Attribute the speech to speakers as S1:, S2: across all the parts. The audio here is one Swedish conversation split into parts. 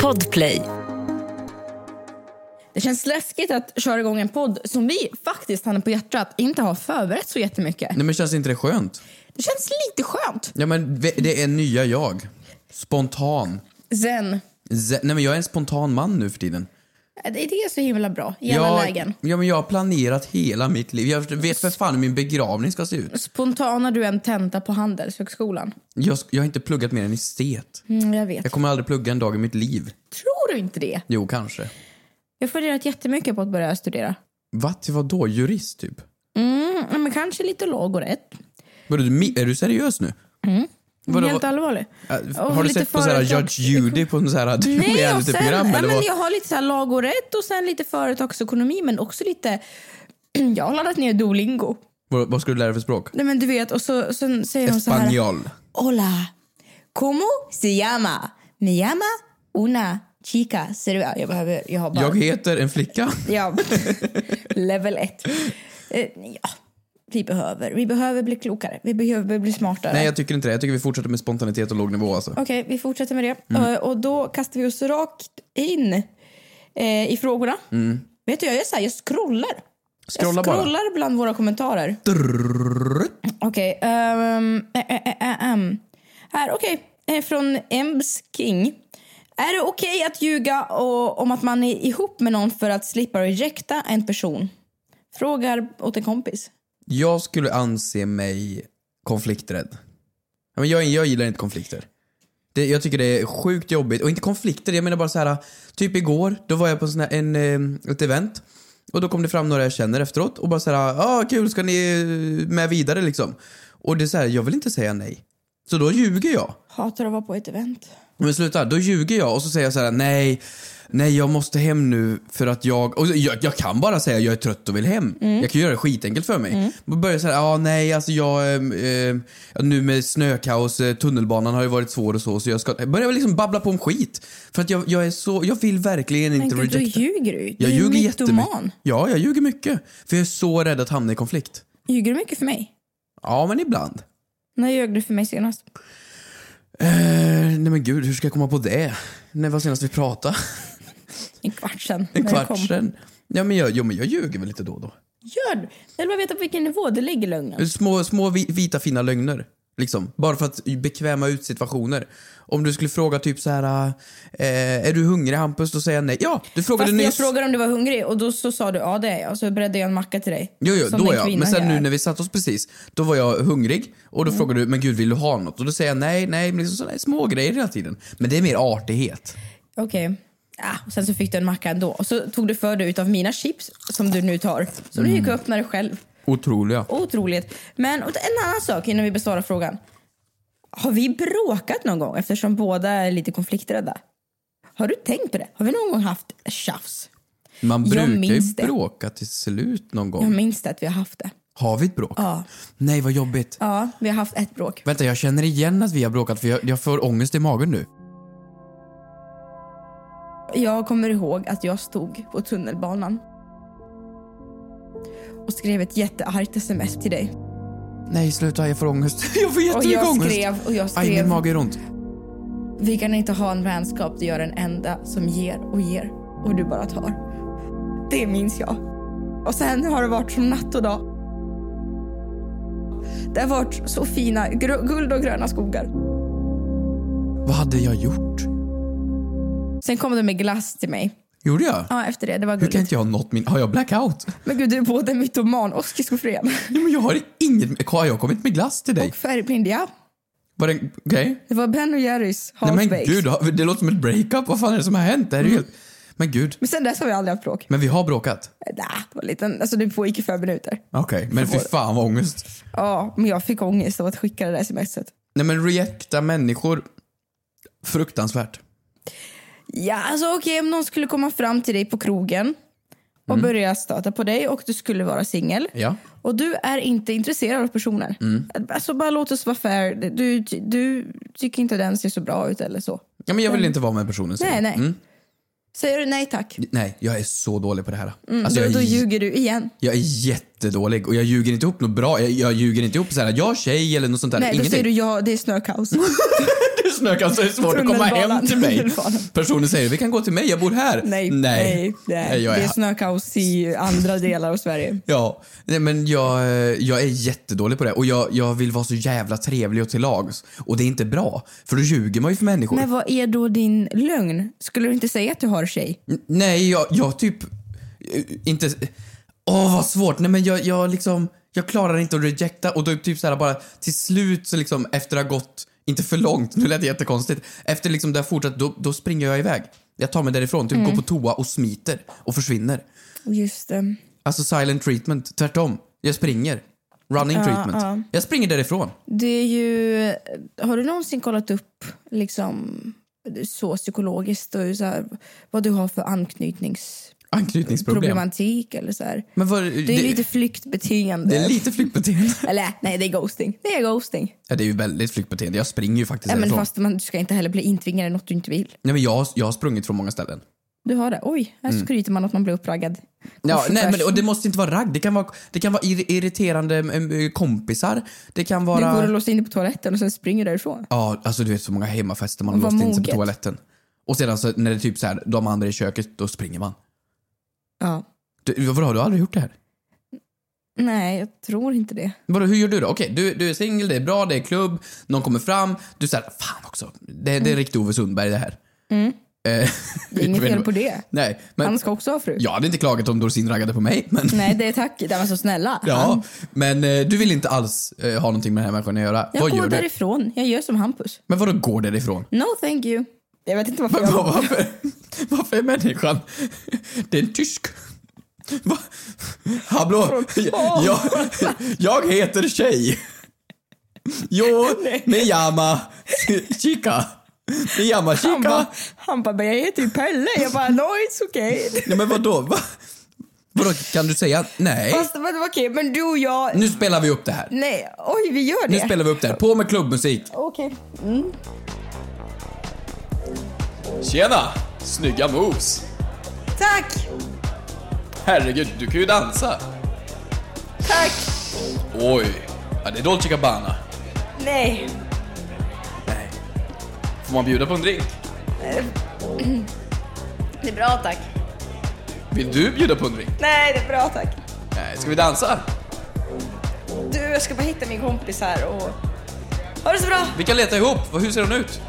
S1: Podplay.
S2: Det känns läskigt att köra igång en podd som vi faktiskt, handen på hjärtat, inte har förberett så jättemycket.
S3: Nej men känns inte det skönt?
S2: Det känns lite skönt.
S3: Ja men ve- det är nya jag. Spontan.
S2: Zen.
S3: Z- Nej men jag är en spontan man nu för tiden.
S2: Äh, Det det är så himla bra i alla
S3: jag,
S2: lägen.
S3: Ja men jag har planerat hela mitt liv. Jag vet för fan hur min begravning ska se ut.
S2: Spontana du en tenta på Handelshögskolan?
S3: Jag, sk- jag har inte pluggat mer än estet.
S2: Mm, jag vet.
S3: Jag kommer aldrig plugga en dag i mitt liv.
S2: Tror du inte det?
S3: Jo kanske.
S2: Jag har funderat jättemycket på att börja studera.
S3: Va? Till vadå? Jurist typ?
S2: Mm, ja, men kanske lite lag och rätt.
S3: Vadå, du, mi- är du seriös nu? Vadå,
S2: Helt
S3: vad-
S2: allvarlig.
S3: äh,
S2: och
S3: har du
S2: lite
S3: sett på såhär
S2: företags-
S3: Judge Judy på en sån här
S2: Nej, och sen,
S3: reality-program
S2: ja,
S3: eller
S2: men
S3: vad?
S2: jag har lite så här lag och rätt och sen lite företagsekonomi men också lite... Jag har laddat ner Duolingo.
S3: vad? Vad ska du lära dig för språk?
S2: Nej men du vet och så sen säger de så här...
S3: Espanjol.
S2: Hola, como se llama? Me llama una chica. Ser du? Jag behöver... Jag har bara...
S3: Jag heter en flicka.
S2: Ja, level ett. Eh, Ja, vi behöver, vi behöver bli klokare. Vi behöver bli smartare.
S3: Nej jag tycker inte det. Jag tycker vi fortsätter med spontanitet och låg nivå alltså.
S2: Okej, vi fortsätter med det.
S3: Mm.
S2: Eh, Och då kastar vi oss rakt in eh, i frågorna. Vet du, jag gör så här, jag scrollar.
S3: Mm. Scrolla
S2: jag
S3: bara.
S2: scrollar bland våra kommentarer. Okej, ehm, ä, ä, ä, ä, äm. ehm. Här, okej. Eh, Från Ems King. Är det okej att ljuga och, om att man är ihop med någon för att slippa rejecta en person? Frågar åt en kompis.
S3: Jag skulle anse mig konflikträdd. Ja, men jag, jag gillar inte konflikter. Det, jag tycker det är sjukt jobbigt. Och inte konflikter, jag menar bara så här. Typ igår, då var jag på en sån här, en, eh, ett event. Och då kom det fram några jag känner efteråt och bara så här, ah kul, ska ni eh, med vidare liksom? Och det är så här, jag vill inte säga nej. Så då ljuger jag.
S2: Hatar att vara på ett event.
S3: Men sluta, då ljuger jag och så säger jag så här: nej, nej jag måste hem nu för att jag, och jag, jag kan bara säga jag är trött och vill hem.
S2: Mm.
S3: Jag kan göra det skitenkelt för mig. Mm. Börjar såhär, ja nej alltså jag, ehm, ehm, nu med snökaos, eh, tunnelbanan har ju varit svår och så, så jag ska, jag börjar väl liksom babbla på om skit. För att jag, jag är så, jag vill verkligen
S2: Men
S3: inte
S2: gud, då
S3: rejecta.
S2: ljuger du ju. Du
S3: Jag
S2: är ju
S3: ljuger jättemycket.
S2: mytoman.
S3: Ja, jag ljuger mycket. För jag är så rädd att hamna i konflikt.
S2: Ljuger du mycket för mig?
S3: Ja, men ibland.
S2: När ljög du för mig senast?
S3: Eh, nej men gud, hur ska jag komma på det? När var senast vi pratade?
S2: En kvart sen.
S3: En
S2: när jag
S3: kvart
S2: kom.
S3: sedan. Ja, men jag, jo, men jag ljuger väl lite då och då.
S2: Gör du? Jag vill bara veta på vilken nivå det ligger lögnen.
S3: Små, små vi- vita fina lögner. Liksom. Bara för att bekväma ut situationer. Om du skulle fråga typ så här, eh, är du hungrig Hampus? Då säger jag nej. Ja, du frågade
S2: Fast jag
S3: nyss.
S2: frågade om du var hungrig och då så sa du ja det är jag. Så beredde jag en macka till dig.
S3: Jo, jo,
S2: Som
S3: då
S2: den
S3: ja.
S2: kvinna Mm.
S3: Men sen
S2: jag
S3: nu
S2: är.
S3: när vi satt oss precis, då var jag hungrig och då frågade du, men gud vill du ha något? Och då säger jag nej, nej, men liksom sådana små grejer hela tiden. Men det är mer artighet.
S2: Okej. Ja, och sen så fick du en macka ändå. Och så tog du för dig utav mina chips som du nu tar. Så du
S3: Mm.
S2: gick och öppnade själv.
S3: Otroliga.
S2: Otroligt. Men och en annan sak innan vi besvarar frågan. Har vi bråkat någon gång eftersom båda är lite konflikträdda? Har du tänkt på det? Har vi någon gång haft tjafs?
S3: Man
S2: Jag
S3: brukar ju
S2: minns det.
S3: bråka till slut någon gång.
S2: Jag minns det att vi har haft det.
S3: Har vi ett bråk?
S2: Ja.
S3: Nej, vad jobbigt.
S2: Ja, vi har haft ett bråk.
S3: Vänta, jag känner igen att vi har bråkat för jag, jag får ångest i magen nu.
S2: Jag kommer ihåg att jag stod på tunnelbanan och skrev ett jätteargt sms till dig.
S3: Nej, sluta, jag får ångest. Jag får
S2: Och
S3: jättemycket
S2: jag
S3: ångest.
S2: skrev och jag
S3: Aj, min
S2: skrev.
S3: mage gör ont.
S2: Vi kan inte ha en vänskap där jag är den enda som ger och ger och du bara tar. Det minns jag. Och sen har det varit som natt och dag. Det har varit så fina gr- guld och gröna skogar.
S3: Vad hade jag gjort?
S2: Sen kom du med glass till mig.
S3: Gjorde jag?
S2: Ja, efter det. Det var
S3: Hur kan
S2: gulligt.
S3: inte jag ha nått min... Har jag blackout?
S2: Men gud, du är både mytoman och schizofren.
S3: Nej, men jag har inget... Har jag kommit med glass till dig?
S2: Och färgblind, ja.
S3: Var det... Okej?
S2: Det var Ben och Jerrys
S3: Nej, men
S2: Halfbaked.
S3: gud, har- det låter som ett breakup. Vad fan är det som har hänt? Det här är ju
S2: Mm.
S3: helt... Men gud.
S2: Men sen dess har vi aldrig haft bråk.
S3: Men vi har bråkat.
S2: Nej, det var lite, alltså det pågick i fem minuter.
S3: Okej, men fy fan vad ångest.
S2: Ja, men jag fick ångest av att skicka det där smset.
S3: Nej, men rejecta människor. Fruktansvärt.
S2: Ja, alltså okej om någon skulle komma fram till dig på krogen och
S3: Mm.
S2: börja stöta på dig och du skulle vara singel.
S3: Ja.
S2: Och du är inte intresserad av personer.
S3: Mm.
S2: Alltså bara låt oss vara fair. Du, du tycker inte den ser så bra ut eller så.
S3: Ja, men jag vill inte vara med personen. säger
S2: Nej,
S3: jag.
S2: nej. Säger du nej tack,
S3: Nej, jag är så dålig på det här. Alltså,
S2: då,
S3: jag
S2: då
S3: är Alltså,
S2: ljuger Mm, du igen.
S3: Jag är jättedålig och jag ljuger inte ihop något bra. Jag, jag ljuger inte ihop såhär, jag är tjej eller något sånt där.
S2: Nej, då
S3: Ingenting.
S2: säger du ja, det är snökaos.
S3: Snökastare är svårt att komma
S2: Tunnelbanan,
S3: hem till mig.
S2: tunnelbanan.
S3: Personen säger vi kan gå till mig, jag bor här.
S2: Nej,
S3: nej.
S2: nej,
S3: nej jag
S2: det
S3: är
S2: är snökaos i andra delar av Sverige.
S3: Ja, nej men jag, eh, jag är jättedålig på det och jag, jag vill vara så jävla trevlig och till lags. Och det är inte bra, för då ljuger man ju för människor.
S2: Men vad är då din lögn? Skulle du inte säga att du har tjej?
S3: N- Nej, jag, jag typ... eh, Inte... Åh, vad svårt. Nej men jag, jag liksom... Jag klarar inte att rejecta och då typ så här bara till slut så liksom efter att ha gått, inte för långt, nu lät det jättekonstigt. Efter liksom det har fortsatt, då, då springer jag iväg. Jag tar mig därifrån,
S2: Mm.
S3: typ går på toa och smiter och försvinner.
S2: Just det.
S3: Alltså silent treatment, tvärtom. Jag springer. Running treatment.
S2: ja.
S3: Jag springer därifrån.
S2: Det är ju... Har du någonsin kollat upp liksom så psykologiskt och så här, vad du har för anknytningsproblematik
S3: Anknytningsproblem.
S2: eller så här?
S3: Men vad, det,
S2: Det är
S3: det,
S2: lite flyktbeteende.
S3: är lite flyktbeteende.
S2: Eller nej, det är ghosting. Det är ghosting.
S3: ja, det är ju väldigt flyktbeteende. Jag springer ju faktiskt
S2: Ja, men
S3: därifrån.
S2: fast man, du ska inte heller bli intvingad i något du inte vill.
S3: Nej men jag, jag har sprungit från många ställen.
S2: Du har det. Oj, här skryter man att man blir uppraggad.
S3: Mm. Ja,
S2: Kors och
S3: nej, men,
S2: tvärs.
S3: och det måste inte vara ragg. Det kan vara, det kan vara ir- irriterande mm, kompisar. Det kan
S2: Du går och
S3: vara...
S2: låser in dig på toaletten och sen springer du därifrån.
S3: Ja, alltså du vet så många hemmafester man har
S2: Vad
S3: låst in sig på
S2: moget.
S3: toaletten. Och sedan så när det är typ så här, de andra i köket, då springer man.
S2: Ja.
S3: Du, vadå, har du aldrig gjort det här?
S2: Nej, jag tror inte det.
S3: Vadå, hur gör du då? Okej, du, du är singel, det är bra, det är klubb, någon kommer fram, du säger fan också, det,
S2: Mm.
S3: det är riktigt Ove Sundberg det här. Eh,
S2: Det är inget fel på det.
S3: Nej, men
S2: Han ska också ha fru.
S3: jag hade inte klagat om Dorsin raggade på mig, men
S2: Nej, det är tack. Det var så snälla.
S3: ja. Men eh, du vill inte alls eh, ha någonting med den här människan att göra.
S2: Jag
S3: Vad
S2: går
S3: gör du?
S2: därifrån. Jag gör som Hampus.
S3: Men vadå går därifrån?
S2: No thank you. Jag vet inte varför
S3: Men
S2: jag...
S3: vad- varför, varför är människan... Det är en tysk. Va? Hallå? Jag, jag heter tjej. Jo, me llama chica. Me llama
S2: Han
S3: chica.
S2: bara, han bara, men jag heter ju typ Pelle. Jag bara, no it's okay.
S3: Nej men vadå? Va? Vadå, kan du säga nej?
S2: Fast men det var okej, men du och jag...
S3: Nu spelar vi upp det här.
S2: Nej, oj vi gör
S3: Nu
S2: det.
S3: spelar vi upp det här. På med klubbmusik.
S2: Okej.
S3: Tjena! Snygga moves.
S2: Tack!
S3: Herregud, du kan ju dansa.
S2: Tack!
S3: Oj, ja, det är Dolce Gabbana.
S2: Nej.
S3: Nej. Får man bjuda på en drink?
S2: Det är bra tack.
S3: Vill du bjuda på en drink?
S2: Nej, det är bra tack.
S3: Nej, ska vi dansa?
S2: Du, jag ska bara hitta min kompis här och... Ha det så bra!
S3: Vi kan leta ihop. Vad- Hur ser hon ut?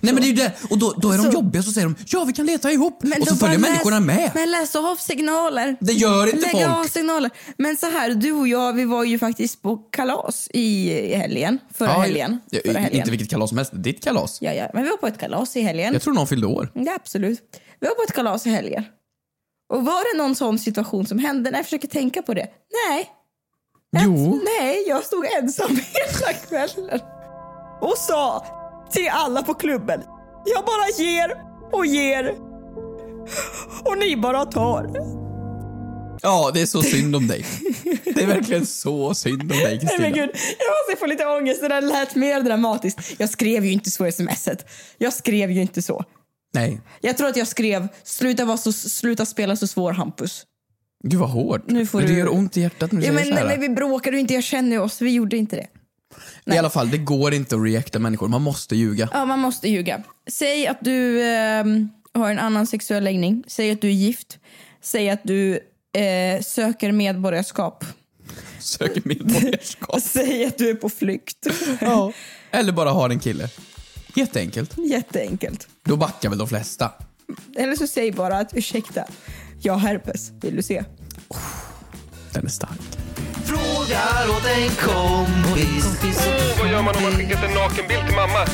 S3: Nej men det är ju det. Och då, då är de
S2: Så-
S3: jobbiga så säger de ja vi kan leta ihop.
S2: Men
S3: och så
S2: då bara
S3: följer
S2: läs-
S3: människorna med.
S2: Men läs av signaler.
S3: Det gör inte
S2: Lägg
S3: folk.
S2: av signaler. Men så här, du och jag, vi var ju faktiskt på kalas i i helgen. Förra
S3: Ja,
S2: helgen.
S3: ja,
S2: Förra helgen.
S3: Inte vilket kalas som helst. Ditt kalas.
S2: Ja, ja. Men vi var på ett kalas i helgen.
S3: Jag tror någon fyllde år.
S2: Ja, absolut. Vi var på ett kalas i helgen. Och var det någon sån situation som hände? När jag försöker tänka på det. Nej.
S3: Jo.
S2: Nej, jag stod ensam hela kvällen. Och sa till alla på klubben. Jag bara ger och ger. Och ni bara tar.
S3: Ja, det är så synd om dig. Det är verkligen så synd om dig
S2: Nej men
S3: Kristina.
S2: gud, jag måste få lite ångest. Det där lät mer dramatiskt. Jag skrev ju inte så i smset. Jag skrev ju inte så.
S3: Nej.
S2: Jag tror att jag skrev sluta, vara så, sluta spela så svår Hampus.
S3: Gud vad hårt.
S2: Nu får
S3: men det
S2: du-
S3: gör ont i hjärtat när du
S2: Ja,
S3: säger
S2: men,
S3: så här.
S2: men vi bråkade ju inte, jag känner ju oss. Vi gjorde inte det.
S3: I alla fall, det går inte att reacta människor. Man måste ljuga.
S2: Ja, man måste ljuga. Säg att du ehm, har en annan sexuell läggning. Säg att du är gift. Säg att du eh, söker medborgarskap.
S3: Söker medborgarskap.
S2: Säg att du är på flykt.
S3: Ja. Eller bara har en kille. Jätteenkelt.
S2: Jätteenkelt.
S3: Då backar väl de flesta.
S2: Eller så säg bara att ursäkta, jag har herpes. Vill du se?
S3: Den är stark.
S1: Frågar åt en kompis.
S4: Åh, vad gör man om man skickat en nakenbild till mamma?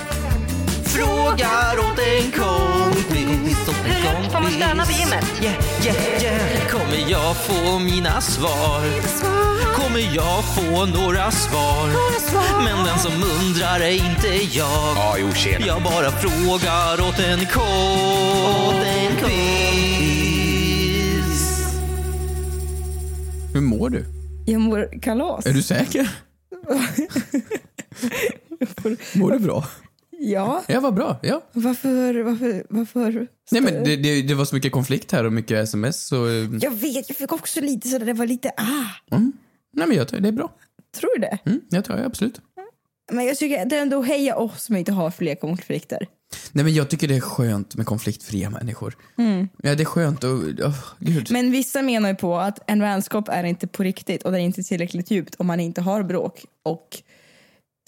S1: Frågar åt en kompis. åt en
S5: Hur högt får man
S1: kompis.
S5: stöna vid gymmet?
S1: Yeah, yeah, yeah. Kommer jag få mina svar? Kommer jag få några svar? Men den som undrar är inte jag.
S4: Ja, jo, tjena.
S1: Jag bara frågar åt en kompis.
S3: Hur mår du?
S2: Jag mår kalas.
S3: Är du säker? mår du bra?
S2: Ja,
S3: Ja, vad bra. Ja.
S2: varför, varför, varför?
S3: Nej, men det, det, det var så mycket konflikt här och mycket sms. Och, eh,
S2: Jag vet, jag fick också lite sådär, det var lite ah.
S3: nej, men jag tror det är bra.
S2: Tror du det?
S3: Mm, jag tror jag absolut.
S2: Men jag tycker det är ändå heja oss som inte har fler konflikter.
S3: Nej men jag tycker det är skönt med konfliktfria människor. Ja det är skönt och, åh, gud.
S2: Men vissa menar ju på att en vänskap är inte på riktigt och den är inte tillräckligt djupt om man inte har bråk och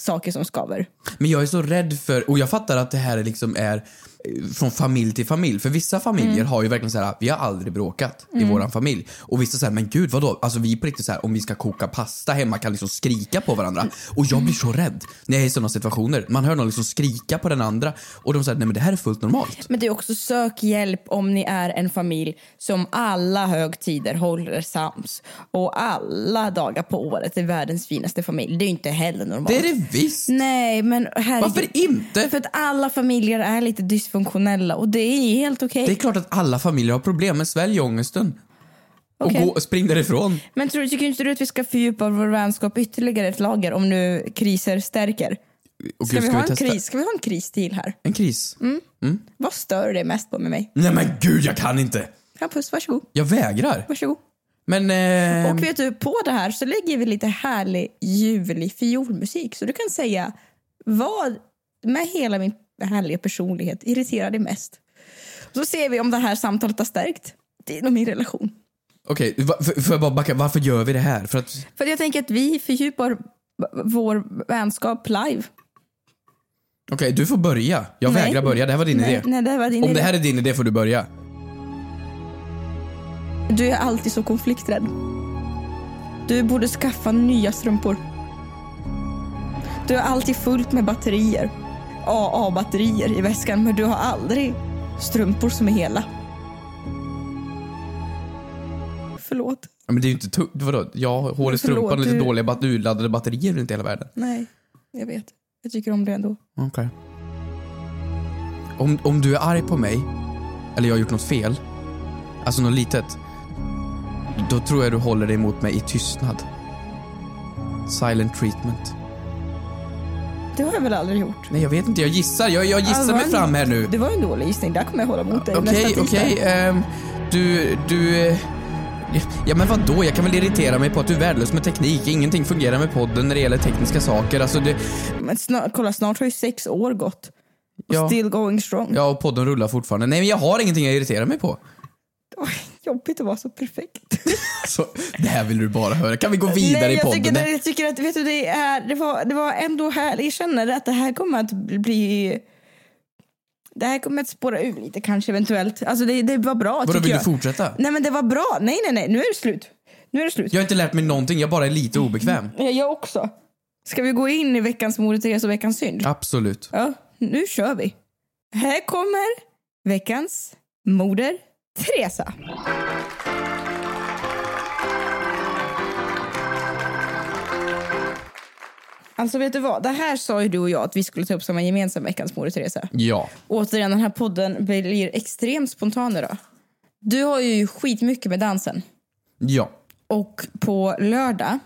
S2: saker som skaver.
S3: Men jag är så rädd för, och jag fattar att det här liksom är eh, från familj till familj. För vissa familjer
S2: Mm.
S3: har ju verkligen så här, vi har aldrig bråkat i våran familj. Och vissa säger, men gud vadå? Alltså vi är på riktigt så här, om vi ska koka pasta hemma kan liksom skrika på varandra. Och jag blir så rädd när jag är i sådana situationer. Man hör någon liksom skrika på den andra och de säger, nej men det här är fullt normalt.
S2: Men det är också sök hjälp om ni är en familj som alla högtider håller sams och alla dagar på året är världens finaste familj. Det är ju inte heller normalt.
S3: Det är det visst!
S2: Nej, men herregud.
S3: Varför inte?
S2: För att alla familjer är lite dysfunktionella och det är helt okej.
S3: Det är klart att alla familjer har problem, men svälj ångesten.
S2: Okej.
S3: Och gå, spring därifrån.
S2: Men tror, tycker inte du att vi ska fördjupa vår vänskap ytterligare ett lager om nu kriser stärker?
S3: Och
S2: Ska
S3: gud,
S2: vi, ha en
S3: testa?
S2: kris? Mm. Ska vi ha en kris till här?
S3: En kris?
S2: Vad stör det mest på med mig?
S3: Nej men gud, jag kan inte!
S2: Ja, puss, varsågod.
S3: Jag vägrar.
S2: varsågod.
S3: Men... Eh,
S2: Och vet du, på det här så lägger vi lite härlig ljuvlig fiolmusik så du kan säga vad med hela min härliga personlighet irriterar dig mest. Så ser vi om det här samtalet har stärkt din och min relation.
S3: Okej, va- f- får jag bara backa? Varför gör vi det här? För att...
S2: För jag tänker att vi fördjupar v- vår vänskap live.
S3: Okej, du får börja. Jag
S2: Nej.
S3: vägrar börja. Det här var din
S2: Nej,
S3: idé.
S2: nej, det här var din
S3: Om
S2: idé.
S3: det här är din idé får du börja.
S2: Du är alltid så konflikträdd. Du borde skaffa nya strumpor. Du är alltid fullt med batterier. AA-batterier i väskan, men du har aldrig strumpor som är hela. Förlåt.
S3: Ja, Men det är ju inte tungt. Vadå? Jag har hål i
S2: Men förlåt,
S3: strumpan och lite
S2: du-
S3: dåliga bat- urladdade batterier runt hela världen.
S2: Nej, jag vet. Jag tycker om det ändå.
S3: Okej. Om, om du är arg på mig, eller jag har gjort något fel, alltså något litet, då tror jag du håller dig emot mig i tystnad. Silent treatment.
S2: Det har jag väl aldrig gjort.
S3: Nej, jag vet inte. Jag gissar. Jag, jag gissar
S2: Ja, vad
S3: mig
S2: en-
S3: fram här nu.
S2: Det var en dålig gissning. Där kommer jag hålla mot dig nästa
S3: Okej,
S2: tisdag.
S3: okej. ehm, du, du... eh, Ja men vadå, jag kan väl irritera mig på att du är värdelös med teknik. Ingenting fungerar med podden när det gäller tekniska saker. Alltså det,
S2: Men snart, kolla, snart har ju sex år gått. Och
S3: Ja.
S2: still going strong.
S3: ja, och podden rullar fortfarande. Nej men jag har ingenting jag irriterar mig på.
S2: Oj, jobbigt att vara så perfekt.
S3: Så, det här vill du bara höra. Kan vi gå vidare
S2: Nej,
S3: i
S2: jag
S3: podden?
S2: Tycker, det-
S3: Nej.
S2: jag tycker att, vet du, det, är, det, var, det var ändå härligt. Jag känner att det här kommer att bli... Det här kommer att spåra ur lite kanske eventuellt. Alltså det, det var bra
S3: Vadå,
S2: tycker
S3: vill du
S2: jag.
S3: fortsätta?
S2: Nej men det var bra. Nej nej nej, nu är det slut. Nu är det slut.
S3: Jag har inte lärt mig någonting, jag bara är lite
S2: Mm.
S3: obekväm.
S2: Jag, jag också. Ska vi gå in i veckans Moder Teresa och veckans synd?
S3: Absolut.
S2: Ja, nu kör vi. Här kommer veckans Moder Teresa. Alltså vet du vad, det här sa ju du och jag att vi skulle ta upp som en gemensam veckans Moder Teresa.
S3: Ja.
S2: Återigen, den här podden blir extremt spontan idag. Du har ju skitmycket med dansen.
S3: Ja.
S2: Och på lördag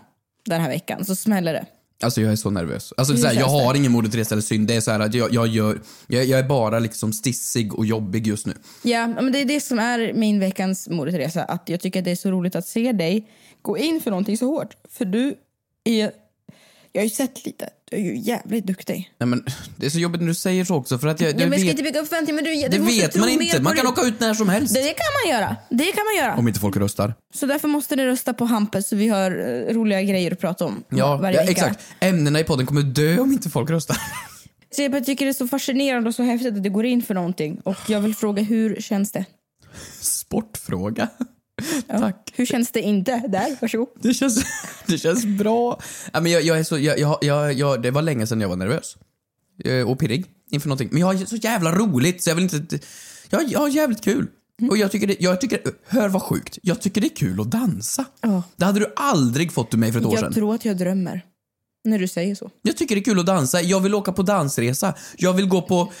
S2: den här veckan så smäller det.
S3: Alltså jag är så nervös. Alltså, det
S2: Hur
S3: är så här, jag
S2: känns det?
S3: har ingen moder Teresa eller synd. Det är så här att jag, jag, gör, jag, jag är bara liksom stissig och jobbig just nu.
S2: Ja, men det är det som är min veckans Moder Teresa. Att jag tycker att det är så roligt att se dig gå in för någonting så hårt. För du är... Jag har ju sett lite. Du är ju jävligt duktig.
S3: Nej, men, det är så jobbigt när du säger så också för att jag,
S2: Ja,
S3: jag
S2: men jag ska
S3: vet,
S2: inte bygga upp förväntningar, men du,
S3: det
S2: du måste
S3: vet
S2: tro
S3: man
S2: mer på
S3: inte. Man kan
S2: det.
S3: åka ut när som helst.
S2: Det kan man göra. Det kan man göra.
S3: Om inte folk röstar.
S2: Så därför måste ni rösta på Hampus så vi har eh, roliga grejer att prata om
S3: Ja,
S2: varje
S3: ja
S2: vecka.
S3: exakt. Ämnena i podden kommer dö om inte folk röstar.
S2: Så jag bara tycker det är så fascinerande och så häftigt att du går in för någonting. Och jag vill fråga, hur känns det?
S3: Sportfråga. Tack.
S2: Hur känns det inte? Där, varsågod.
S3: Det känns, det känns bra. Ja, men jag, jag är så, jag, jag, jag, jag, det var länge sedan jag var nervös. Eh, Och pirrig inför någonting. Men jag har så jävla roligt så jag vill inte... Jag, jag har jävligt kul.
S2: Mm.
S3: Och jag tycker, det, jag tycker, hör vad sjukt, jag tycker det är kul att dansa.
S2: Ja.
S3: Det hade du aldrig fått ur mig för ett år
S2: Jag
S3: sedan.
S2: tror att jag drömmer. När du säger så.
S3: Jag tycker det är kul att dansa. Jag vill åka på dansresa. Jag vill gå på...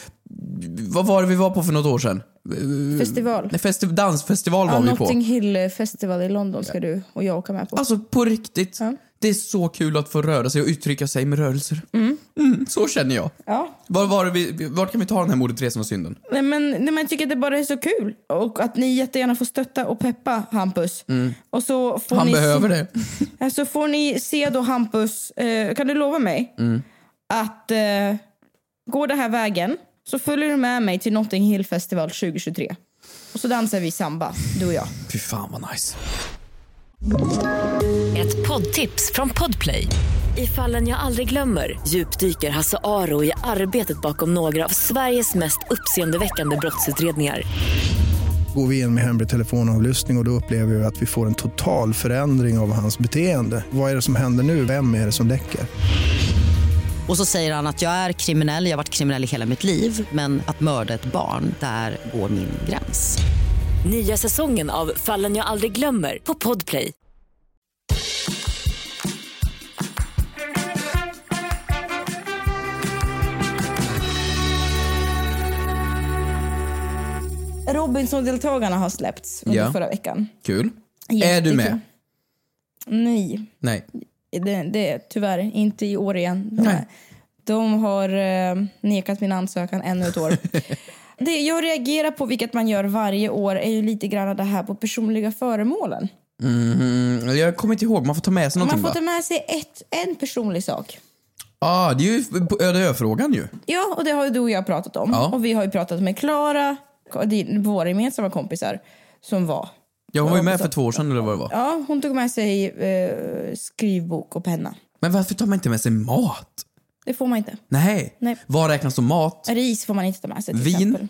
S3: Vad var det vi var på för något år sedan? Eh,
S2: Festival.
S3: Nej, festi- dansfestival
S2: Ja,
S3: var vi på.
S2: Notting Hill festival i London ska du och jag åka med på.
S3: Alltså på riktigt. Det är så kul att få röra sig och uttrycka sig med rörelser. Mm, så känner jag.
S2: Ja.
S3: Var, var, är vi, var kan vi ta den här mordet, resan och synden?
S2: Nej, men, nej, men jag tycker att det bara är så kul. Och att ni jättegärna får stötta och peppa Hampus. Och så får
S3: Mm. Han
S2: ni
S3: behöver
S2: se,
S3: det. Mm.
S2: det. Så får ni se då Hampus, eh, kan du lova mig? att eh, går den här vägen så följer du med mig till Notting Hill Festival 2023. Och så dansar vi samba, du och jag.
S3: Fy fan vad nice.
S5: Ett poddtips från Podplay. I fallen jag aldrig glömmer djupdyker Hasse Aro i arbetet bakom några av Sveriges mest uppseendeväckande brottsutredningar.
S6: Går vi in med hemlig telefonavlyssning och, och då upplever vi att vi får en total förändring av hans beteende. Vad är det som händer nu? Vem är det som läcker?
S7: Och så säger han att jag är kriminell, jag har varit kriminell i hela mitt liv men att mörda ett barn, där går min gräns.
S5: Nya säsongen av Fallen jag aldrig glömmer på Podplay.
S2: Robinson-deltagarna har släppts under
S3: Ja.
S2: förra veckan.
S3: Kul. är
S2: Jättekul.
S3: du med?
S2: Nej,
S3: Nej.
S2: det, det är tyvärr inte i år igen. De,
S3: Nej.
S2: de har eh, nekat min ansökan ännu ett år. det jag reagerar på, vilket man gör varje år, är ju lite grann det här på personliga föremålen.
S3: Mm, jag kommer inte ihåg, man får ta med sig
S2: Man
S3: någonting
S2: får
S3: va?
S2: ta med sig ett, en personlig sak.
S3: ah, det är ju öde ö-frågan ju.
S2: Ja, och det har ju du och jag pratat om.
S3: Ja.
S2: Och vi har ju pratat med Klara, din- våra gemensamma kompisar, som var.
S3: Jag var ju med
S2: hoppas
S3: för två år sedan eller vad det var.
S2: Ja, hon tog med sig eh, skrivbok och penna.
S3: Men varför tar man inte med sig mat?
S2: Det får man inte.
S3: Nej.
S2: Nej.
S3: Vad räknas som mat?
S2: Ris får man inte ta med sig till
S3: Vin?
S2: exempel.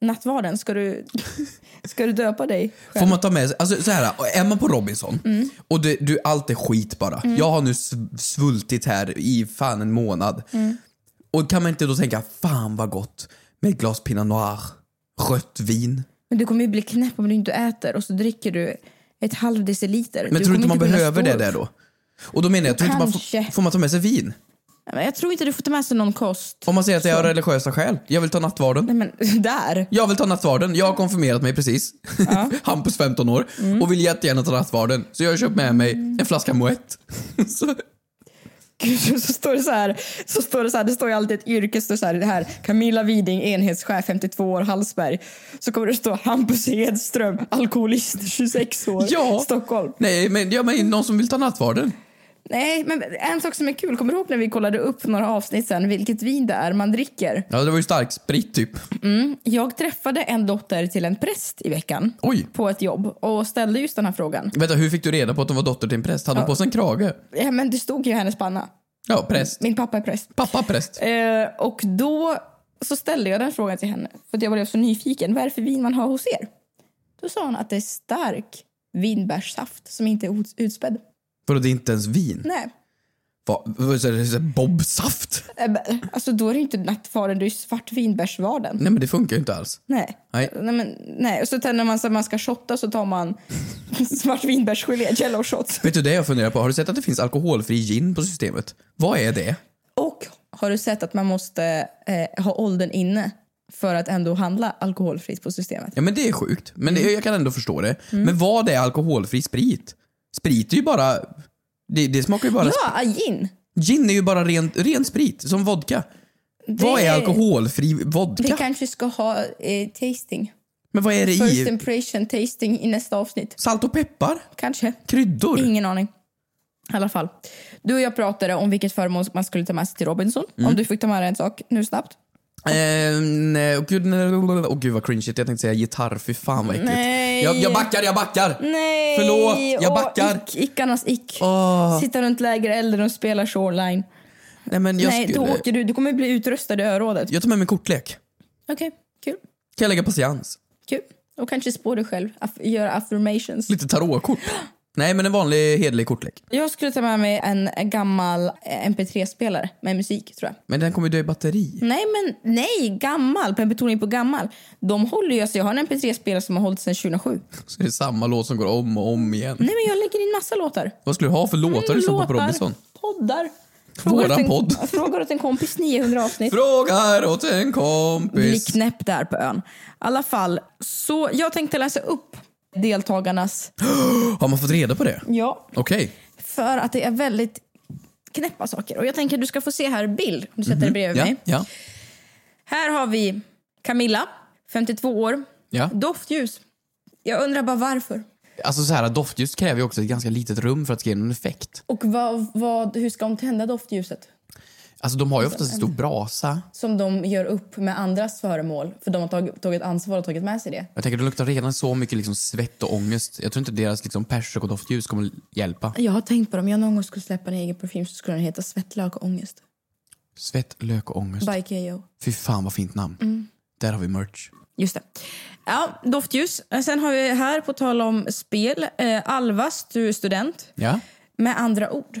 S2: Nattvarden, ska du, ska du döpa dig själv?
S3: Får man ta med sig, alltså så här, är man på Robinson
S2: Mm.
S3: och det, du, allt är skit bara. Jag har nu sv- svultit här i fan en månad.
S2: Mm.
S3: Och kan man inte då tänka, fan vad gott med ett glas pinot noir, rött vin.
S2: Men du kommer ju bli knäpp om du inte äter och så dricker du ett halv deciliter.
S3: Men
S2: du
S3: tror du
S2: kommer
S3: inte man
S2: kunna
S3: behöver
S2: stå
S3: det där
S2: upp.
S3: då? Och då menar jag, tror inte man
S2: Kanske.
S3: får, får man ta med sig vin?
S2: Nej, men Jag tror inte du får ta med sig någon kost.
S3: Om man säger att jag har religiösa skäl, jag vill ta nattvarden.
S2: Nej men där!
S3: Jag vill ta nattvarden. Jag har konfirmerat mig precis. Hampus 15 år.
S2: Mm.
S3: Och vill jättegärna ta nattvarden. Så jag har köpt med mig en flaska Moët. så,
S2: Gud, så står det så här, så står det så här, det står ju alltid ett yrke, så står det så här, det här Camilla Widing, enhetschef, 52 år, Hallsberg. Så kommer det stå Hampus Hedström, alkoholist, 26 år,
S3: Ja.
S2: Stockholm.
S3: nej, men jag menar någon som vill ta nattvarden.
S2: Nej, men en sak som är kul, kommer du ihåg när vi kollade upp för några avsnitt sen vilket vin det är man dricker?
S3: Ja, det var ju stark sprit typ.
S2: Jag träffade en dotter till en präst i veckan
S3: Oj.
S2: på ett jobb och ställde just den här frågan.
S3: Vänta, hur fick du reda på att hon var dotter till en präst? Hade hon på sig en krage?
S2: Ja, Eh, men det stod ju i hennes panna.
S3: Ja, präst.
S2: Min pappa är präst.
S3: Pappa präst.
S2: Eh, och då så ställde jag den frågan till henne för att jag blev så nyfiken. Vad är det för vin man har hos er? Då sa hon att det är stark vinbärssaft som inte är ut- utspädd.
S3: Vadå, det är inte ens vin?
S2: Nej,
S3: Va, vad är det, så här bobsaft?
S2: Eh, men, alltså då är det ju inte nattfaren, det är ju svart vinbärsvarden.
S3: Nej men det funkar ju inte alls.
S2: Nej.
S3: Nej.
S2: Nej, men, nej. Och så tar- när man, så man ska shotta så tar man svart vinbärsgelé, jello shots.
S3: Vet du det jag funderar på? Har du sett att det finns alkoholfri gin på systemet? Vad är det?
S2: Och har du sett att man måste eh, ha åldern inne för att ändå handla alkoholfritt på systemet?
S3: Ja men det är sjukt. Men det, jag kan ändå förstå det. Men vad är alkoholfri sprit? Sprit är ju bara... Det, det smakar ju bara...
S2: Ja, gin!
S3: Gin är ju bara ren, ren sprit, som vodka. Vad är alkoholfri vodka?
S2: Vi kanske ska ha eh, tasting.
S3: Men vad är det
S2: First
S3: i?
S2: impression tasting i nästa avsnitt.
S3: Salt och peppar?
S2: Kanske.
S3: Kryddor?
S2: Ingen aning. I alla fall. Du och jag pratade om vilket föremål man skulle ta med sig till Robinson.
S3: Mm.
S2: Om du fick ta med dig en sak nu snabbt.
S3: Eh, nej, Åh gud, nej, åh, gud vad cringe jag tänkte säga gitarr, fy fan vad äckligt.
S2: Nej. Mm.
S3: Jag, jag backar, jag backar!
S2: Nej!
S3: Förlåt, jag
S2: Åh,
S3: backar.
S2: Ick, ickarnas ick.
S3: Åh.
S2: Sitta runt lägerelden och spela shoreline.
S3: Nej men jag
S2: Nej, då
S3: skulle...
S2: åker du. Du kommer bli utröstad i örådet.
S3: Jag tar med min kortlek.
S2: Okej, kul.
S3: Kan jag lägga patiens?
S2: Kul. Och kanske spå dig själv. Aff göra affirmations.
S3: Lite tarotkort? nej men en vanlig hederlig kortlek.
S2: Jag skulle ta med mig en en gammal eh, mp3-spelare med musik, tror jag.
S3: Men den kommer ju dö i batteri.
S2: Nej, men nej, gammal. På en betoning på gammal. De håller ju, alltså jag har en mp3-spelare som har hållit sedan 2007.
S3: Så det är samma låt som går om och om igen.
S2: Nej, men jag lägger in massa låtar.
S3: Vad skulle du ha för låtar du lyssnar på på
S2: Låtar,
S3: Robinson?
S2: Poddar.
S3: Våran
S2: åt en,
S3: podd.
S2: Frågar åt en kompis 900 avsnitt.
S3: Frågar åt en
S2: bli
S3: kompis.
S2: knäpp där på ön. I alla fall, så jag tänkte läsa upp deltagarnas...
S3: Har man fått reda på det?
S2: Ja.
S3: Okej.
S2: För att det är väldigt knäppa saker. Och jag tänker du ska få se här bild om du sätter dig bredvid
S3: Ja,
S2: mig.
S3: ja.
S2: Här har vi Camilla, 52 år.
S3: Ja.
S2: Doftljus. Jag undrar bara varför.
S3: Alltså så här, doftljus kräver ju också ett ganska litet rum för att ge en effekt.
S2: Och vad, vad, hur ska hon tända doftljuset?
S3: Alltså de har ju oftast en stor brasa.
S2: Som de gör upp med andras föremål. För de har tagit, tagit ansvar och tagit med sig det.
S3: Jag tänker, det luktar redan så mycket liksom svett och ångest. Jag tror inte deras liksom, persikodoftljus kommer hjälpa.
S2: Jag har tänkt på det. Om jag någon gång skulle släppa en egen parfym så skulle den heta Svettlök och ångest.
S3: Svett, lök och ångest.
S2: By K.O.
S3: Fy fan vad fint namn.
S2: Mm.
S3: Där har vi merch.
S2: Just det. Ja, doftljus. Eh, Sen har vi här, på tal om spel, eh, Alvas, du är student.
S3: Ja.
S2: Med andra ord.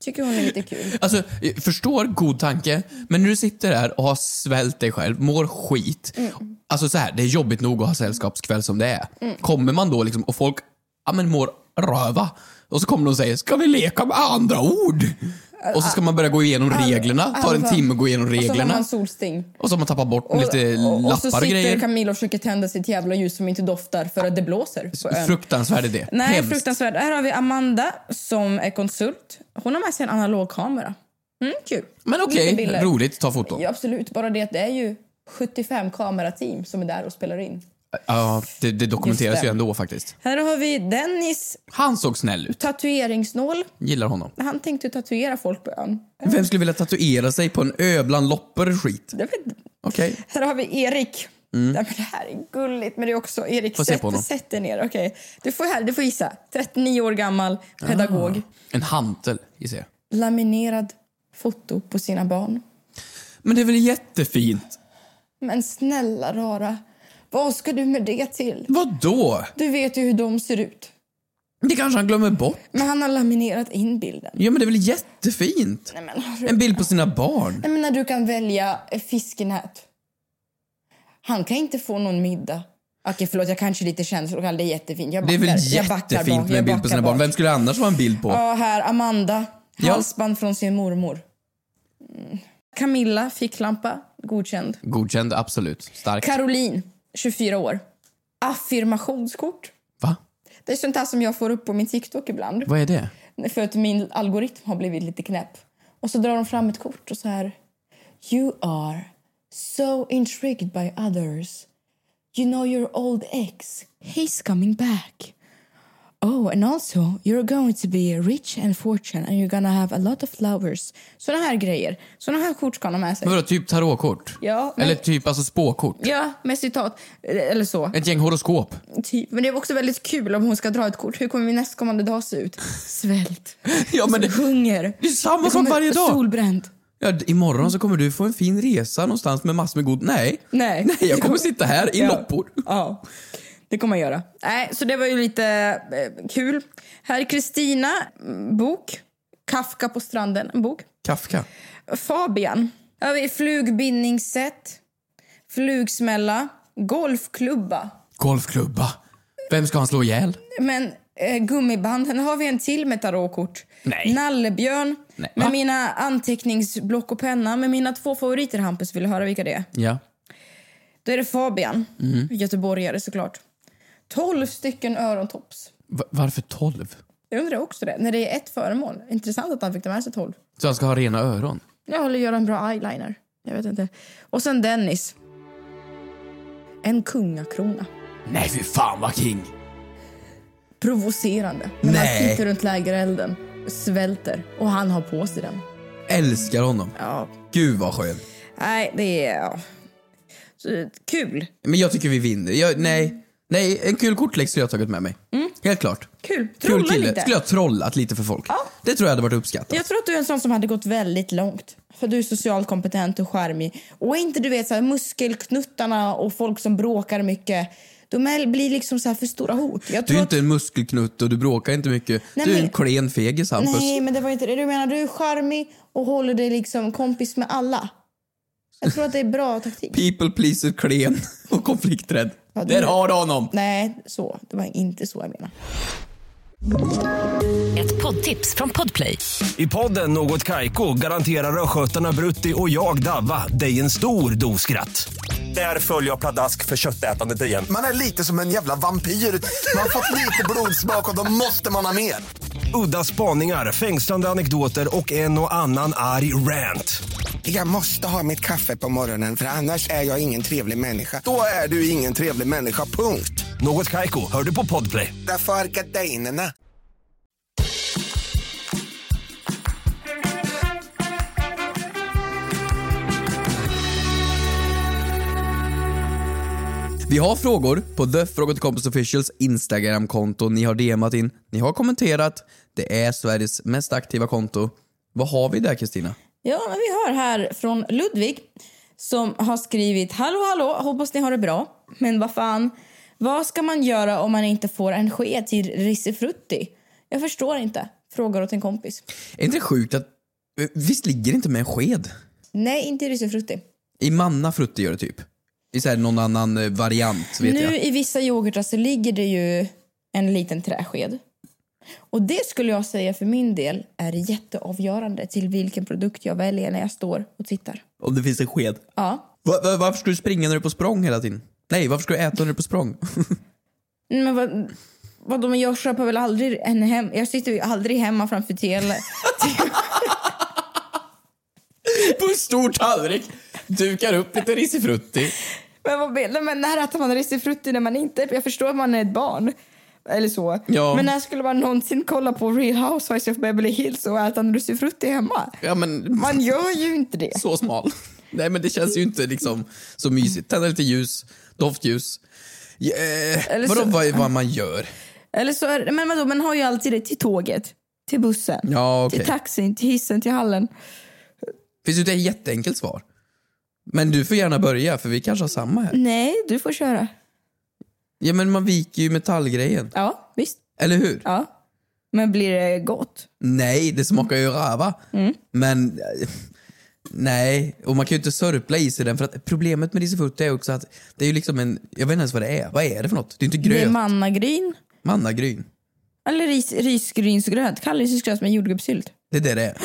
S2: Tycker hon är lite kul.
S3: Alltså, jag förstår god tanke, men när du sitter där och har svält dig själv, mår skit.
S2: Mm.
S3: Alltså så här, det är jobbigt nog att ha sällskapskväll som det är. Kommer man då liksom och folk, ja men mår röva. Och så kommer de och säger, ska vi leka med andra ord? Och så ska man börja gå igenom reglerna, tar en
S2: Alva.
S3: timme att gå igenom
S2: Och så har
S3: reglerna.
S2: man solsting.
S3: Och så har man tappat bort
S2: Och,
S3: lite
S2: och, och så
S3: lappar och
S2: sitter
S3: grejer.
S2: Camilla och försöker tända sitt jävla ljus som inte doftar för att det blåser på ön.
S3: Fruktansvärd idé.
S2: Nej,
S3: Hemskt.
S2: fruktansvärt. Här har vi Amanda som är konsult. Hon har med sig en analogkamera. Mm, kul.
S3: Men okej,
S2: Lite bilder.
S3: roligt. Ta foton.
S2: Ja,
S3: Ja,
S2: absolut. Bara det att det är ju 75 kamerateam som är där och spelar in.
S3: det, det dokumenteras
S2: Just
S3: ju
S2: det.
S3: ändå faktiskt.
S2: Här har vi Dennis
S3: Han såg snäll ut.
S2: tatueringsnål.
S3: Gillar honom.
S2: Han tänkte ju tatuera folk på ön.
S3: Vem skulle vilja tatuera sig på en ö bland loppor och skit?
S2: Jag vet inte.
S3: Okej.
S2: Här har vi Erik. Nej, men det här är gulligt, men det är också... Erik,
S3: Mm. Får se på
S2: sätt,
S3: honom.
S2: sätt dig ner. Okej. Du, får här, du får gissa. 39 år gammal, pedagog.
S3: En hantel, gissar jag.
S2: Laminerad foto på sina barn.
S3: Men det är väl jättefint?
S2: Men snälla rara, vad ska du med det till?
S3: Vadå?
S2: Du vet ju hur de ser ut.
S3: Det kanske han glömmer bort.
S2: Men han har laminerat in bilden.
S3: Ja, men det är väl jättefint?
S2: Nej men, har du-
S3: En bild på sina barn.
S2: Nej, men när du kan välja eh, fiskenät. Han kan inte få någon middag. Okej, förlåt, jag kanske är lite känslokall. Det är jättefint. Jag
S3: Det är väl
S2: backar. Jag backar
S3: jättefint
S2: bak.
S3: med en
S2: Jag
S3: bild på
S2: backar
S3: sina barn.
S2: bak.
S3: Vem skulle det annars vara en bild på?
S2: Ja, här. Amanda.
S3: Ja.
S2: Halsband från sin mormor. Mm. Camilla, ficklampa. Godkänd.
S3: Godkänd, absolut. Stark.
S2: Caroline, 24 år. Affirmationskort.
S3: Va?
S2: Det är sånt här som jag får upp på min TikTok ibland.
S3: Vad är det?
S2: För att min algoritm har blivit lite knäpp. Och så drar de fram ett kort och så här... You are so intrigued by others. You know your old ex. He's coming back. Oh, and also you're going to be rich and fortunate and you're gonna have a lot of flowers. Såna här grejer. Såna här kort ska de ha med sig.
S3: Vadå, typ tarotkort?
S2: Ja, men-
S3: Eller typ alltså spåkort?
S2: Ja, med citat. Eller så.
S3: Ett gäng horoskop?
S2: Typ. Men det är också väldigt kul om hon ska dra ett kort. Hur kommer min nästkommande dag se ut? Svält.
S3: Ja, men det-
S2: Hunger.
S3: det är samma sak
S2: kommer
S3: varje dag.
S2: Solbränd.
S3: Ja, d- imorgon så kommer du få en fin resa någonstans med massor med god... Nej.
S2: Nej.
S3: Nej, jag
S2: Det
S3: kommer sitta här i
S2: Ja.
S3: loppor.
S2: Ja, det kommer jag göra. Nej, så det var ju lite eh, kul. Här är Kristina, mm, bok. Kafka på stranden, en bok.
S3: Kafka.
S2: Fabian. Här har vi flugbindningssätt, flugsmälla, golfklubba.
S3: Golfklubba. Vem ska han slå ihjäl?
S2: Men eh, gummiband, här har vi en till med tarotkort.
S3: Nej.
S2: Nallebjörn,
S3: Nej, va?
S2: med mina anteckningsblock och penna. Med mina två favoriter, Hampus, vill du höra vilka det är?
S3: Ja.
S2: Då är det Fabian, göteborgare såklart. 12 stycken örontops.
S3: Va- varför tolv?
S2: Jag undrar också det, när det är ett föremål. Intressant att han fick ta med sig 12.
S3: Så han ska ha rena öron?
S2: Jag håller göra en bra eyeliner. Jag vet inte. Och sen Dennis. En kungakrona.
S3: Nej, fy fan vad king!
S2: Provocerande. När
S3: Nej.
S2: man sitter runt lägerelden, svälter och han har på sig den.
S3: Älskar honom.
S2: Ja,
S3: Gud vad skön.
S2: nej, det är... Ja. Så, kul.
S3: Men jag tycker vi vinner. Jag, nej. Nej, en kul kortlek skulle jag ha tagit med mig.
S2: Mm.
S3: Helt klart.
S2: Kul.
S3: Kul
S2: Trolla
S3: kille.
S2: lite.
S3: Skulle jag ha trollat lite för folk. Det tror jag hade varit uppskattat.
S2: Jag tror att du är en sån som hade gått väldigt långt. För du är socialt kompetent och charmig. Och inte du vet så här, muskelknuttarna och folk som bråkar mycket. De är, blir liksom så här för stora hot. Jag
S3: Du
S2: tror
S3: är
S2: att-
S3: inte en muskelknutt och du bråkar inte mycket.
S2: Nej,
S3: du är
S2: men-
S3: en klen fegis, Hampus.
S2: Nej, men det var inte det du menar. Du är charmig och håller dig liksom kompis med alla. Jag tror att det är bra taktik.
S3: People pleaser, klen och konflikträdd.
S2: Ja, det-
S3: Där har du honom!
S2: Nej, så. Det var inte så jag menar.
S5: Ett poddtips från Podplay.
S8: I podden Något Kaiko garanterar östgötarna Brutti och jag, Davva, dig en stor dos skratt. Där följer jag pladask för köttätandet igen.
S9: Man är lite som en jävla vampyr. Man har fått lite blodsmak och då måste man ha mer.
S8: Udda spaningar, fängslande anekdoter och en och annan arg rant.
S9: Jag måste ha mitt kaffe på morgonen för annars är jag ingen trevlig människa. Då är du ingen trevlig människa, punkt.
S8: Något Kaiko, hör du på Podplay.
S9: Därför arkadeinerna.
S3: Vi har frågor på The Fråga till Kompis Officials Instagram-konto. Ni har DMat in, ni har kommenterat. Det är Sveriges mest aktiva konto. Vad har vi där Kristina?
S2: Ja, men vi har här från Ludvig som har skrivit Hallå hallå, hoppas ni har det bra. Men vad fan, vad ska man göra om man inte får en sked till risifrutti? Jag förstår inte. Frågar åt en kompis.
S3: Är inte det sjukt att... Visst ligger det inte med en sked?
S2: Nej, inte risifrutti.
S3: I manna frutti gör det typ. I så här någon annan eh, variant vet
S2: nu
S3: jag.
S2: i vissa yoghurtar så ligger det ju en liten träsked. Och det skulle jag säga för min del är jätteavgörande till vilken produkt jag väljer när jag står och tittar.
S3: Om det finns en sked.
S2: Ja.
S3: Va, va, varför ska du springa när du är på språng hela tiden? Nej, varför ska du äta när du är på språng?
S2: Men vad, vadå, men jag köper väl aldrig en hem... Jag sitter ju aldrig hemma framför tele.
S3: på en stor tallrik, dukar upp lite risifrutti.
S2: men vad menar men när äter man risifrutti när man inte... Jag förstår att man är ett barn. Eller så.
S3: Ja.
S2: Men när skulle man någonsin kolla på Real Housewives of Beverly Hills och äta en risifrutti hemma?
S3: Ja men,
S2: Man gör ju inte det.
S3: så smal. Nej men det känns ju inte liksom så mysigt. Tända lite ljus, doftljus. Eh,
S2: Eller
S3: vadå
S2: så-
S3: vad, vad man gör?
S2: Eller så är, men vadå, man har ju alltid det till tåget, till bussen,
S3: Ja okej.
S2: till taxin, till hissen, till hallen.
S3: Finns ju inte ett jätteenkelt svar. Men du får gärna börja för vi kanske har samma här.
S2: Nej, du får köra.
S3: Ja men man viker ju metallgrejen.
S2: Ja, visst.
S3: Eller hur?
S2: Ja. Men blir det gott?
S3: Nej, det smakar ju röva.
S2: Mm.
S3: Men eh, nej, och man kan ju inte sörpla i sig den för att problemet med risifrutti är också att det är ju liksom en, jag vet inte ens vad det är. Vad är det för något? Det är inte
S2: Det är
S3: gröt.
S2: mannagryn.
S3: Mannagryn.
S2: Eller ris, risgrynsgröt. Kall risgrynsgröt med jordgubbssylt.
S3: Det är det det är.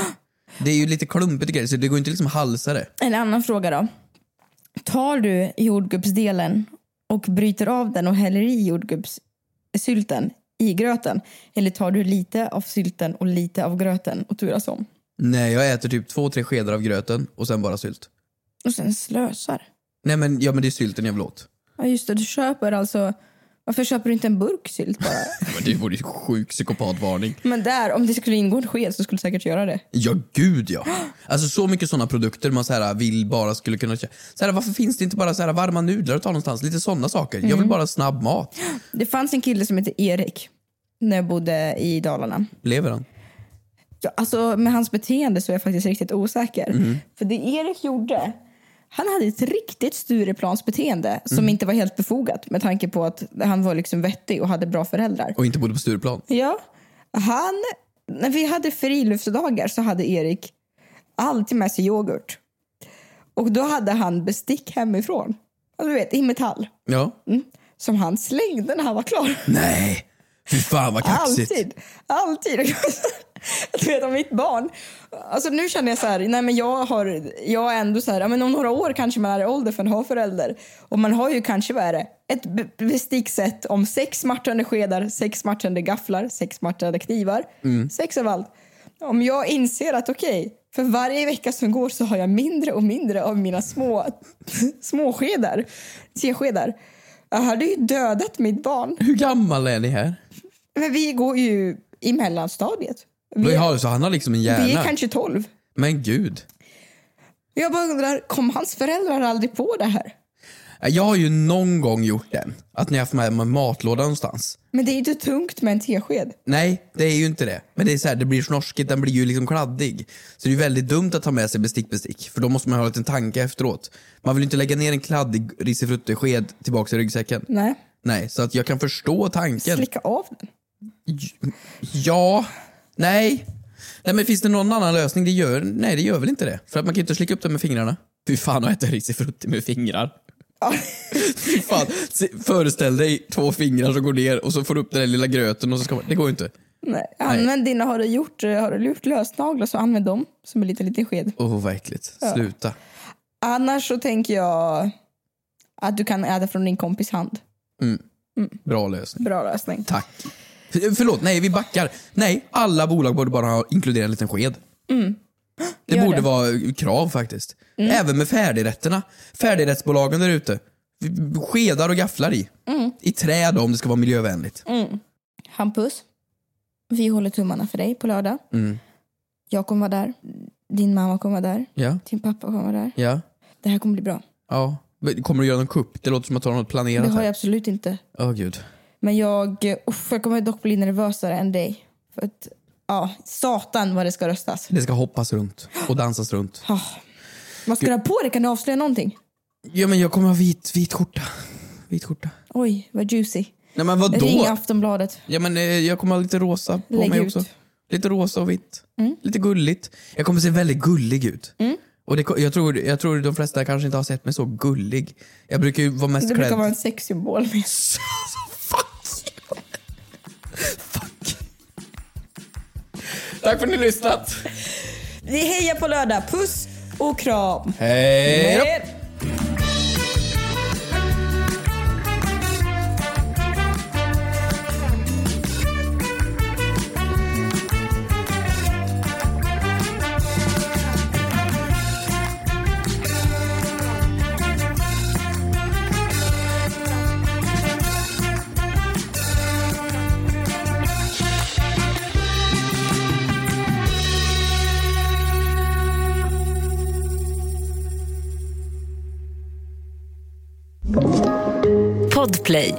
S3: Det är ju lite klumpigt och grejer så det går inte liksom att halsa det.
S2: En annan fråga då. Tar du jordgubbsdelen och bryter av den och häller i jordgubbssylten i gröten? Eller tar du lite av sylten och lite av gröten och turas om?
S3: Nej, jag äter typ två, tre skedar av gröten och sen bara sylt.
S2: Och sen slösar.
S3: Nej men, ja, men det är sylten jag vill åt.
S2: Ja just det, du köper alltså... Varför köper du inte en burk sylt bara?
S3: Men det vore ju sjuk psykopatvarning.
S2: Men där, om det skulle ingå en sked så skulle du säkert göra det.
S3: Ja, gud ja. Alltså så mycket sådana produkter man så här vill bara skulle kunna köpa. Så här, varför finns det inte bara så här varma nudlar att ta någonstans? Lite sådana saker. Jag
S2: Mm.
S3: vill bara ha snabb mat.
S2: Det fanns en kille som hette Erik när jag bodde i Dalarna.
S3: Lever han?
S2: Ja, Alltså med hans beteende så är jag faktiskt riktigt osäker. För det Erik gjorde, han hade ett riktigt Stureplansbeteende som inte var helt befogat med tanke på att han var liksom vettig och hade bra föräldrar.
S3: Och inte bodde på Stureplan?
S2: Ja. Han, när vi hade friluftsdagar så hade Erik alltid med sig yoghurt. Och då hade han bestick hemifrån. Ja, Du vet, i metall.
S3: Ja.
S2: Mm. Som han slängde när han var klar.
S3: Nej! Fy fan vad kaxigt.
S2: Alltid. Alltid. Du vet, om mitt barn. Alltså nu känner jag så här, nej men jag har, jag är ändå så här, ja, men om några år kanske man är i ålder för att ha förälder. Och man har ju kanske, vad är det, ett be- bestickset om sex matchande skedar, sex matchande gafflar, sex matchande knivar, sex av allt. Om jag inser att okej, för varje vecka som går så har jag mindre och mindre av mina små, små skedar, teskedar. Jag hade ju dödat mitt barn.
S3: Hur gammal är ni här?
S2: Men vi går ju i mellanstadiet. Vi,
S3: Vi har, så han har liksom en
S2: vi
S3: hjärna?
S2: är kanske 12.
S3: Men gud.
S2: Jag bara undrar, kom hans föräldrar aldrig på det här?
S3: Jag har ju någon gång gjort den. Att ni har haft med mig en matlåda någonstans.
S2: Men det är ju inte tungt med en tesked.
S3: Nej, det är ju inte det. Men det är så här, det blir snorskigt, den blir ju liksom kladdig. Så det är ju väldigt dumt att ta med sig bestick, bestick. För då måste man ha en liten tanke efteråt. Man vill ju inte lägga ner en kladdig risifruttesked tillbaks i ryggsäcken.
S2: Nej,
S3: Nej, så att jag kan förstå tanken.
S2: slicka av den.
S3: Ja, nej. Nej men finns det någon annan lösning? Det gör, nej det gör väl inte det. För att man kan ju inte slicka upp det med fingrarna. Fy fan att äta risifrutti med fingrar. Fy fan. Se- Föreställ dig två fingrar som går ner och så får du upp den där lilla gröten och så ska man... Det går ju inte.
S2: Nej. Använd dina, har du gjort, har du gjort lösnaglar så använd dem som en liten, liten sked.
S3: Åh, oh, vad äckligt. Sluta.
S2: Annars så tänker jag att du kan äta från din kompis hand.
S3: Bra lösning.
S2: Bra lösning.
S3: Tack. F- Förlåt, nej vi backar. Nej, alla bolag borde bara ha- inkludera en liten sked. Det
S2: Mm. gör
S3: borde
S2: det. Mm.
S3: vara krav faktiskt. Även med färdigrätterna. Färdigrättsbolagen där ute. V- Skedar och gafflar i.
S2: Mm.
S3: I trä då om det ska vara miljövänligt.
S2: Hampus, vi håller tummarna för dig på lördag. Jag kommer vara där. Din mamma kommer vara där.
S3: Ja,
S2: Din pappa kommer vara där.
S3: ja,
S2: Det här kommer bli bra.
S3: ja. Men Kommer du göra någon kupp? Det låter som att du har något
S2: Det
S3: planerat
S2: har jag
S3: här.
S2: absolut inte.
S3: Åh gud.
S2: Men jag, uff, jag kommer dock bli nervösare än dig. För att, ja, satan vad det ska röstas. Ah.
S3: Det ska hoppas runt och dansas runt.
S2: Vad ska du ha på dig? Kan du avslöja någonting?
S3: Ja men jag kommer ha vit, vit skjorta. Vit skjorta.
S2: Oj, vad juicy.
S3: Nej men vadå?
S2: Ring Aftonbladet.
S3: Ja men eh, jag kommer ha lite rosa på
S2: Lägg
S3: mig
S2: ut. Mm.
S3: också. Lite rosa och vitt. Lite gulligt. Jag kommer se väldigt gullig ut. Och det, ko- jag, tror, jag tror de flesta kanske inte har sett mig så gullig. Jag brukar ju vara mest
S2: Det brukar
S3: klädd...
S2: vara en sexsymbol. Med.
S3: Fuck! Fuck! Tack för att ni har lyssnat!
S2: Vi hejar på lördag. Puss och kram.
S3: Hej då!
S5: Podplay.